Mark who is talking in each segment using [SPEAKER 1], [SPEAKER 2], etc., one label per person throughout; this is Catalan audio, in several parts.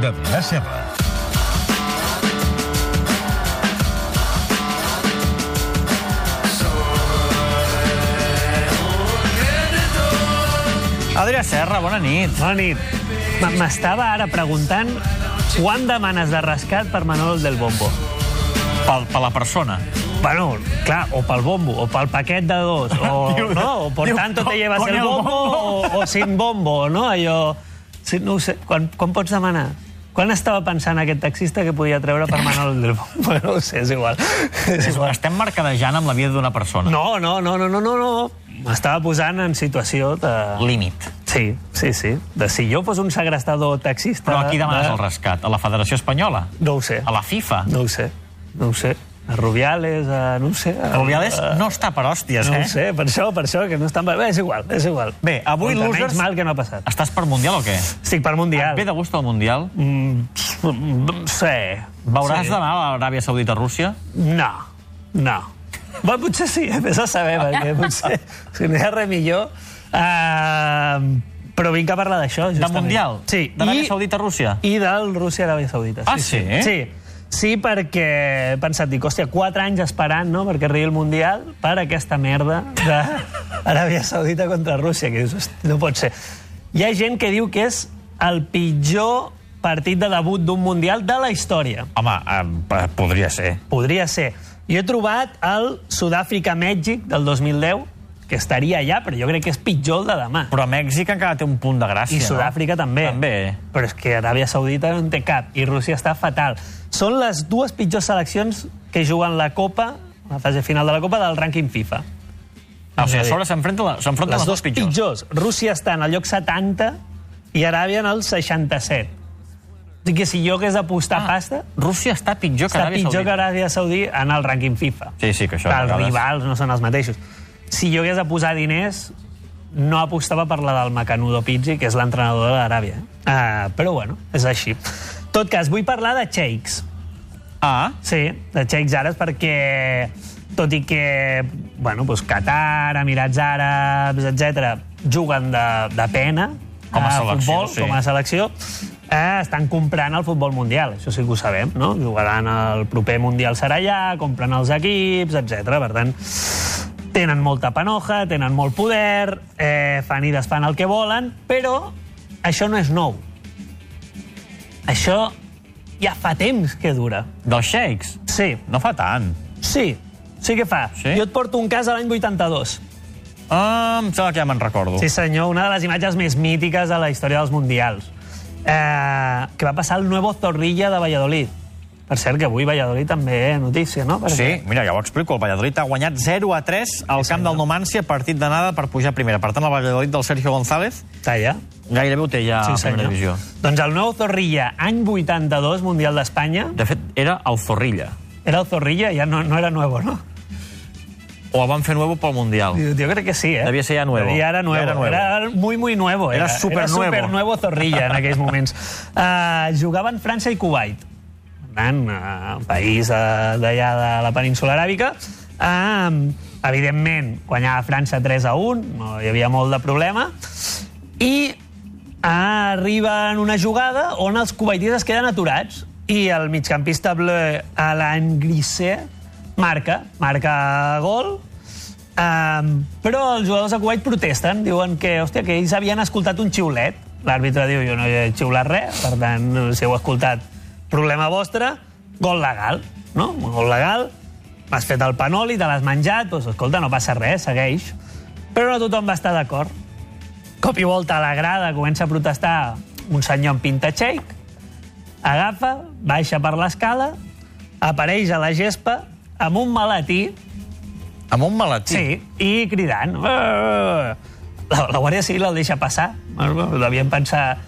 [SPEAKER 1] de Vila-serra.
[SPEAKER 2] Adrià Serra, bona nit.
[SPEAKER 3] Bona nit. M- M'estava ara preguntant quan demanes de rescat per Manolo del Bombo.
[SPEAKER 2] Pel, per la persona.
[SPEAKER 3] Bueno, clar, o pel bombo, o pel paquet de dos, o,
[SPEAKER 2] Diu-
[SPEAKER 3] no, o por
[SPEAKER 2] diu,
[SPEAKER 3] tanto te
[SPEAKER 2] "Con-
[SPEAKER 3] llevas
[SPEAKER 2] con
[SPEAKER 3] el
[SPEAKER 2] el
[SPEAKER 3] bombo,
[SPEAKER 2] bombo".
[SPEAKER 3] O, o sin bombo, no? Allò... Sí, no ho sé, quan, quan pots demanar? Quan estava pensant aquest taxista que podia treure per Manolo del Bombo? No ho sé, és igual. És igual.
[SPEAKER 2] Estem mercadejant amb la vida d'una persona.
[SPEAKER 3] No, no, no, no, no, no, no. M'estava posant en situació de...
[SPEAKER 2] Límit.
[SPEAKER 3] Sí, sí, sí. De si jo fos un segrestador taxista...
[SPEAKER 2] Però aquí demanes
[SPEAKER 3] de...
[SPEAKER 2] el rescat. A la Federació Espanyola?
[SPEAKER 3] No ho sé.
[SPEAKER 2] A la FIFA?
[SPEAKER 3] No ho sé, no ho sé. A Rubiales, a... no ho sé. A...
[SPEAKER 2] Rubiales no està per hòsties,
[SPEAKER 3] No
[SPEAKER 2] eh?
[SPEAKER 3] ho sé, per això, per això, que no estan... Bé, és igual, és igual.
[SPEAKER 2] Bé, avui
[SPEAKER 3] Doncs,
[SPEAKER 2] losers-
[SPEAKER 3] Menys mal que no ha passat.
[SPEAKER 2] Estàs per Mundial o què?
[SPEAKER 3] Estic per Mundial.
[SPEAKER 2] Ve de gust al Mundial?
[SPEAKER 3] Mm, mm, sí.
[SPEAKER 2] Veuràs
[SPEAKER 3] sí.
[SPEAKER 2] demà a Aràbia Saudita a Rússia?
[SPEAKER 3] No, no. Bé, potser sí, vés a saber, perquè potser si no hi ha res millor... Uh, però vinc a parlar d'això,
[SPEAKER 2] De
[SPEAKER 3] justament.
[SPEAKER 2] Mundial?
[SPEAKER 3] Sí.
[SPEAKER 2] D'Aràbia
[SPEAKER 3] i-
[SPEAKER 2] Saudita a Rússia?
[SPEAKER 3] I del Rússia-Aràbia Saudita.
[SPEAKER 2] Ah, sí?
[SPEAKER 3] Sí. Sí, perquè he pensat, dic, hòstia, quatre anys esperant, no?, perquè arribi el Mundial per aquesta merda d'Aràbia Saudita contra Rússia, que dius, "Hosti, no pot ser. Hi ha gent que diu que és el pitjor partit de debut d'un Mundial de la història.
[SPEAKER 2] Home, eh, podria ser.
[SPEAKER 3] Podria ser. Jo he trobat el Sud-àfrica-Mèxic del 2010, que estaria allà, però jo crec que és pitjor el de demà.
[SPEAKER 2] Però Mèxic encara té un punt de gràcia,
[SPEAKER 3] I Sud-àfrica
[SPEAKER 2] no?
[SPEAKER 3] també.
[SPEAKER 2] També. eh?
[SPEAKER 3] Però és que Aràbia Saudita no en té cap i Rússia està fatal. Són les dues pitjors seleccions que juguen la Copa, la fase final de la Copa, del rànquing FIFA.
[SPEAKER 2] Ah, o sigui, a
[SPEAKER 3] Sí.
[SPEAKER 2] sobre s'enfronten la- s'enfronten les, les
[SPEAKER 3] les
[SPEAKER 2] dues
[SPEAKER 3] dues
[SPEAKER 2] pitjors.
[SPEAKER 3] pitjors. Rússia està en el lloc 70 i Aràbia en el 67. O sigui que si jo hagués d'apostar ah, pasta,
[SPEAKER 2] Rússia està pitjor que
[SPEAKER 3] està
[SPEAKER 2] Aràbia
[SPEAKER 3] pitjor que
[SPEAKER 2] Saudita.
[SPEAKER 3] Aràbia Saudí en el rànquing FIFA.
[SPEAKER 2] Sí, sí, que això a
[SPEAKER 3] Els
[SPEAKER 2] vegades-
[SPEAKER 3] rivals no són els mateixos. Si jo hagués de posar diners, no apostava per la del Macanudo Pizzi, que és l'entrenador de l'Aràbia. Uh, però bueno, és així. Tot cas, vull parlar de xeics.
[SPEAKER 2] Ah,
[SPEAKER 3] Sí, de xeics àrabs, perquè tot i que bueno, doncs Qatar, Emirats Àrabs, etc juguen de, de pena
[SPEAKER 2] Com a selecció,
[SPEAKER 3] futbol,
[SPEAKER 2] sí.
[SPEAKER 3] com a selecció, eh, estan comprant el futbol mundial, això sí que ho sabem, no? Jugaran el proper mundial serà allà, compren els equips, etc. Per tant, tenen molta panoja, tenen molt poder, eh, fan i desfan el que volen, però això no és nou. Això ja fa temps que dura.
[SPEAKER 2] dels xeics?
[SPEAKER 3] Sí,
[SPEAKER 2] No fa tant.
[SPEAKER 3] sí, sí que fa.
[SPEAKER 2] Sí?
[SPEAKER 3] Jo et porto un cas de l'any 82.
[SPEAKER 2] Ah, em sembla que ja me'n recordo.
[SPEAKER 3] Sí, senyor, una de les imatges més mítiques de la història dels Mundials. Eh, que va passar al Nuevo Zorrilla de Valladolid. Per cert, que avui Valladolid també és notícia, no? Perquè
[SPEAKER 2] Sí, mira, ja ho explico. El Valladolid ha guanyat 0 a 3 al camp del Numància, partit d'anada per pujar a primera. Per tant, el Valladolid del Sergio González
[SPEAKER 3] Està allà.
[SPEAKER 2] gairebé ho té ja a primera divisió.
[SPEAKER 3] Doncs el Nuevo Zorrilla, any 82, Mundial d'Espanya,
[SPEAKER 2] De fet, era el Zorrilla.
[SPEAKER 3] era el Zorrilla, ja no, no era nuevo, no?
[SPEAKER 2] O el van fer nuevo pel Mundial.
[SPEAKER 3] Jo, jo crec que sí, eh?
[SPEAKER 2] Devia ser ja nuevo.
[SPEAKER 3] Ja era nuevo.
[SPEAKER 2] Ja era
[SPEAKER 3] Era,
[SPEAKER 2] nuevo.
[SPEAKER 3] era muy, muy nuevo.
[SPEAKER 2] Era
[SPEAKER 3] Era,
[SPEAKER 2] supernuevo.
[SPEAKER 3] Era supernuevo Zorrilla en aquells moments. Uh, jugaven França i Kuwait. Per tant, uh, país uh, d'allà de la península aràbica. Uh, evidentment, guanyava França 3 a 1, no hi havia molt de problema. I ah, arriba en una jugada on els kuwaitites es queden aturats i el migcampista bleu Alain Grisset marca, marca gol um, però els jugadors de Kuwait protesten, diuen que, hòstia, que ells havien escoltat un xiulet l'àrbitre diu jo no he xiulat res per tant, si heu escoltat problema vostre, gol legal no? Un gol legal, has fet el panoli te l'has menjat, doncs escolta, no passa res segueix, però no tothom va estar d'acord cop i volta a la grada comença a protestar un senyor amb pinta xeic, agafa, baixa per l'escala, apareix a la gespa amb un maletí,
[SPEAKER 2] Amb un maletí.
[SPEAKER 3] sí, i cridant. "Eh!" La, la Guàrdia Civil el deixa passar. Bueno, Devien pensar,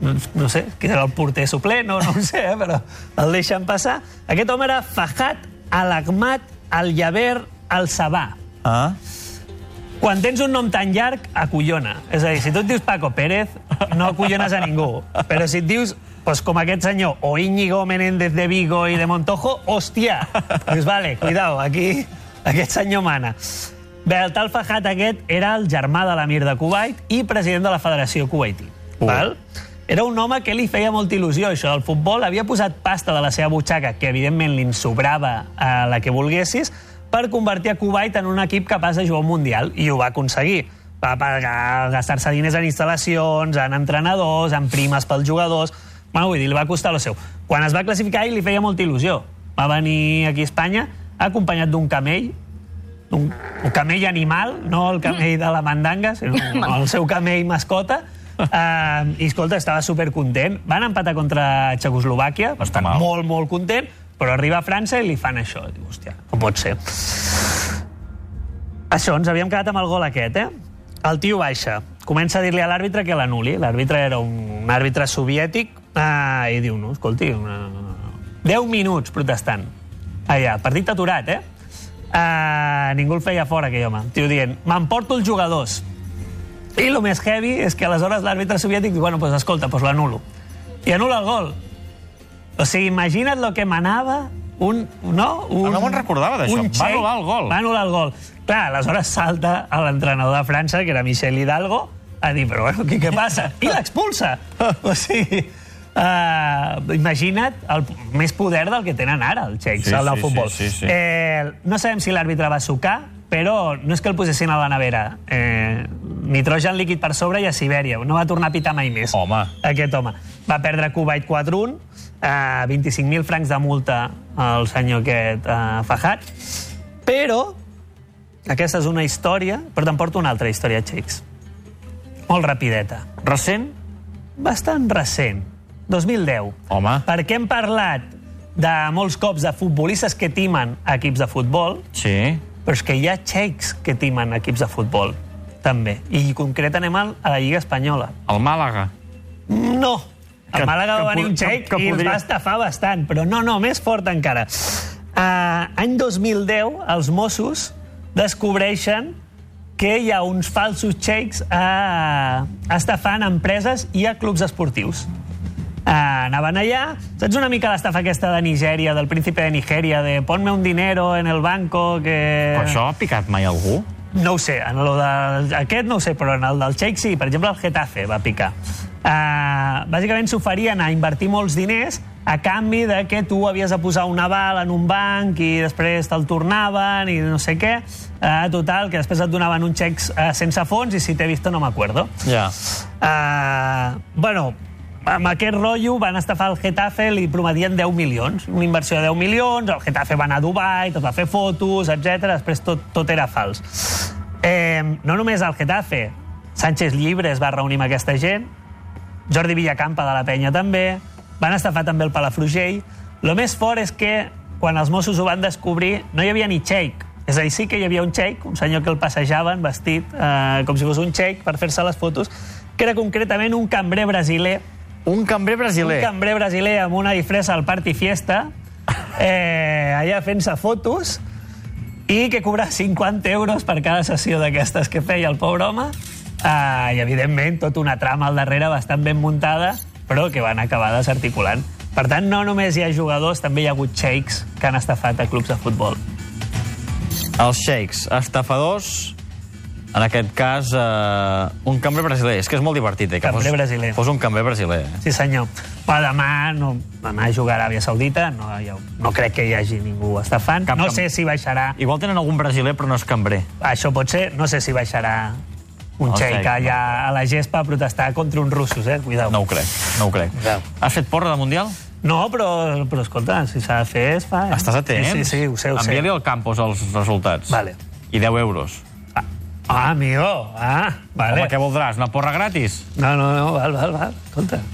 [SPEAKER 3] no, no sé, que era el porter suplent, no, no ho sé, eh, però el deixen passar. Aquest home era Fajat Al-Ahmad Al-Yaber Al-Sabah.
[SPEAKER 2] Ah.
[SPEAKER 3] Quan tens un nom tan llarg, acollona. És a dir, si tu et dius Paco Pérez, no acollones a ningú. Però si et dius pues com aquest senyor, o Íñigo Menéndez de Vigo i de Montojo, hòstia! Dius, vale, cuidao, aquí aquest senyor mana. Bé, el tal Fajat aquest era el germà de l'emir de Kuwait i president de la Federació Kuwaiti.
[SPEAKER 2] Uh.
[SPEAKER 3] Val? Era un home que li feia molta il·lusió, això del futbol. Havia posat pasta de la seva butxaca, que evidentment li ensobrava a la que volguessis, per convertir a Kuwait en un equip capaç de jugar un Mundial, i ho va aconseguir. Va pagar, gastar-se diners en instal·lacions, en entrenadors, en primes pels jugadors... Bueno, vull dir, li va costar el seu. Quan es va classificar, ell li feia molta il·lusió. Va venir aquí a Espanya acompanyat d'un camell, un, un camell animal, no el camell de la mandanga, sinó el seu camell mascota, Uh, I, escolta, estava supercontent. Van empatar contra Txecoslovàquia, per
[SPEAKER 2] Està
[SPEAKER 3] tant,
[SPEAKER 2] mal.
[SPEAKER 3] molt, molt content, però arriba a França i li fan això. Diu, hòstia, com pot ser? Això, ens havíem quedat amb el gol aquest, eh? El tio baixa, comença a dir-li a l'àrbitre que l'anuli. L'àrbitre era un, un àrbitre soviètic uh, i diu, no, escolti, una... 10 minuts protestant. Allà, partit aturat, eh? Uh, ningú el feia fora, aquell home. El Tio dient, m'emporto els jugadors. I el més heavy és que aleshores l'àrbitre soviètic diu, bueno, pues escolta, pues l'anulo. I anul·la el gol. O sigui, imagina't lo que manava un... No? Un,
[SPEAKER 2] Ah, no me'n recordava d'això.
[SPEAKER 3] un
[SPEAKER 2] Va
[SPEAKER 3] txec-
[SPEAKER 2] anul·lar el gol.
[SPEAKER 3] Va anul·lar el gol. Clar, aleshores salta a l'entrenador de França, que era Michel Hidalgo, a dir, però bueno, què, què passa? I l'expulsa. O sigui... Uh, imagina't el més poder del que tenen ara els txecs
[SPEAKER 2] Sí,
[SPEAKER 3] al
[SPEAKER 2] sí,
[SPEAKER 3] sí, futbol.
[SPEAKER 2] sí, sí, sí.
[SPEAKER 3] Eh, no sabem si l'àrbitre va sucar, però no és que el posessin a la nevera. Eh, nitrogen líquid per sobre i a Sibèria. No va tornar a pitar mai més.
[SPEAKER 2] Home.
[SPEAKER 3] Aquest home. Va perdre Kuwait 4-1, eh, 25.000 francs de multa al senyor aquest eh, Fajat. Però aquesta és una història, però te'n porto una altra història, Txecs. Molt rapideta.
[SPEAKER 2] Recent?
[SPEAKER 3] Bastant recent. 2010.
[SPEAKER 2] Home.
[SPEAKER 3] Perquè hem parlat de molts cops de futbolistes que timen equips de futbol,
[SPEAKER 2] Sí.
[SPEAKER 3] però és que hi ha txecs que timen equips de futbol, també. I concret anem al- a la Lliga Espanyola.
[SPEAKER 2] El Màlaga.
[SPEAKER 3] No.
[SPEAKER 2] Que-
[SPEAKER 3] El Màlaga
[SPEAKER 2] que
[SPEAKER 3] va venir un
[SPEAKER 2] pod- que- que
[SPEAKER 3] xec i podria...
[SPEAKER 2] podria-
[SPEAKER 3] va estafar bastant, però no, no, més fort encara. Uh, any 2010, els Mossos descobreixen que hi ha uns falsos xecs uh, estafant empreses i a clubs esportius. Uh, anaven allà, saps una mica l'estafa aquesta de Nigèria, del príncipe de Nigèria, de ponme un dinero en el banco que...
[SPEAKER 2] Però això ha picat mai algú?
[SPEAKER 3] No ho sé, en lo de, aquest no ho sé, però en el del Sheik sí, per exemple el Getafe va picar. Uh, bàsicament s'oferien a invertir molts diners a canvi de que tu havies de posar un aval en un banc i després te'l tornaven i no sé què. Uh, total, que després et donaven un xec uh, sense fons i si t'he vist no m'acuerdo.
[SPEAKER 2] Ja.
[SPEAKER 3] Uh, bueno, amb aquest rotllo van estafar el Getafe, li prometien 10 milions, una inversió de 10 milions, el Getafe va anar a Dubai, tot va fer fotos, etc. després tot, tot era fals. Eh, no només el Getafe, Sánchez Llibre es va reunir amb aquesta gent, Jordi Villacampa de la Penya també, van estafar també el Palafrugell. Lo més fort és que quan els Mossos ho van descobrir no hi havia ni xeic. És a dir, sí que hi havia un xeic, un senyor que el passejaven vestit eh, com si fos un xeic per fer-se les fotos, que era concretament un cambrer brasiler
[SPEAKER 2] Un cambrer brasiler.
[SPEAKER 3] un cambrer brasiler amb una disfressa al Party Fiesta, eh, allà fent-se fotos, i que cobra 50 euros per cada sessió d'aquestes que feia el pobre home. Eh, I, evidentment, tota una trama al darrere bastant ben muntada, però que van acabar desarticulant. Per tant, no només hi ha jugadors, també hi ha hagut shakes que han estafat a clubs de futbol.
[SPEAKER 2] Els xeics, estafadors, en aquest cas, eh, un cambrer brasiler. És que és molt divertit, eh? Que
[SPEAKER 3] Cambrer
[SPEAKER 2] fos,
[SPEAKER 3] brasiler.
[SPEAKER 2] Fos un cambrer brasiler. eh?
[SPEAKER 3] Sí, senyor. Però demà no, anar a jugar a Aràbia Saudita, no, ja, no crec que hi hagi ningú estafant.
[SPEAKER 2] Cap
[SPEAKER 3] no
[SPEAKER 2] camp-
[SPEAKER 3] sé si baixarà
[SPEAKER 2] Igual tenen algun brasiler, però no és cambrer.
[SPEAKER 3] Això pot ser, no sé si baixarà un
[SPEAKER 2] El
[SPEAKER 3] xeic
[SPEAKER 2] xeic,
[SPEAKER 3] allà a la gespa a protestar contra uns russos, eh? Cuidao.
[SPEAKER 2] No ho crec, no ho crec.
[SPEAKER 3] Ja. Eh?
[SPEAKER 2] Has fet porra de Mundial?
[SPEAKER 3] No, però, però escolta, si s'ha de fer es fa. Eh?
[SPEAKER 2] Estàs atent?
[SPEAKER 3] Sí, sí, sí, ho sé, ho sé.
[SPEAKER 2] Envia-li al Campos els resultats.
[SPEAKER 3] Vale.
[SPEAKER 2] I 10 euros.
[SPEAKER 3] Ah, amigo, ah, vale.
[SPEAKER 2] Home, què voldràs? Una porra gratis?
[SPEAKER 3] No, no, no, val, val, val, escolta.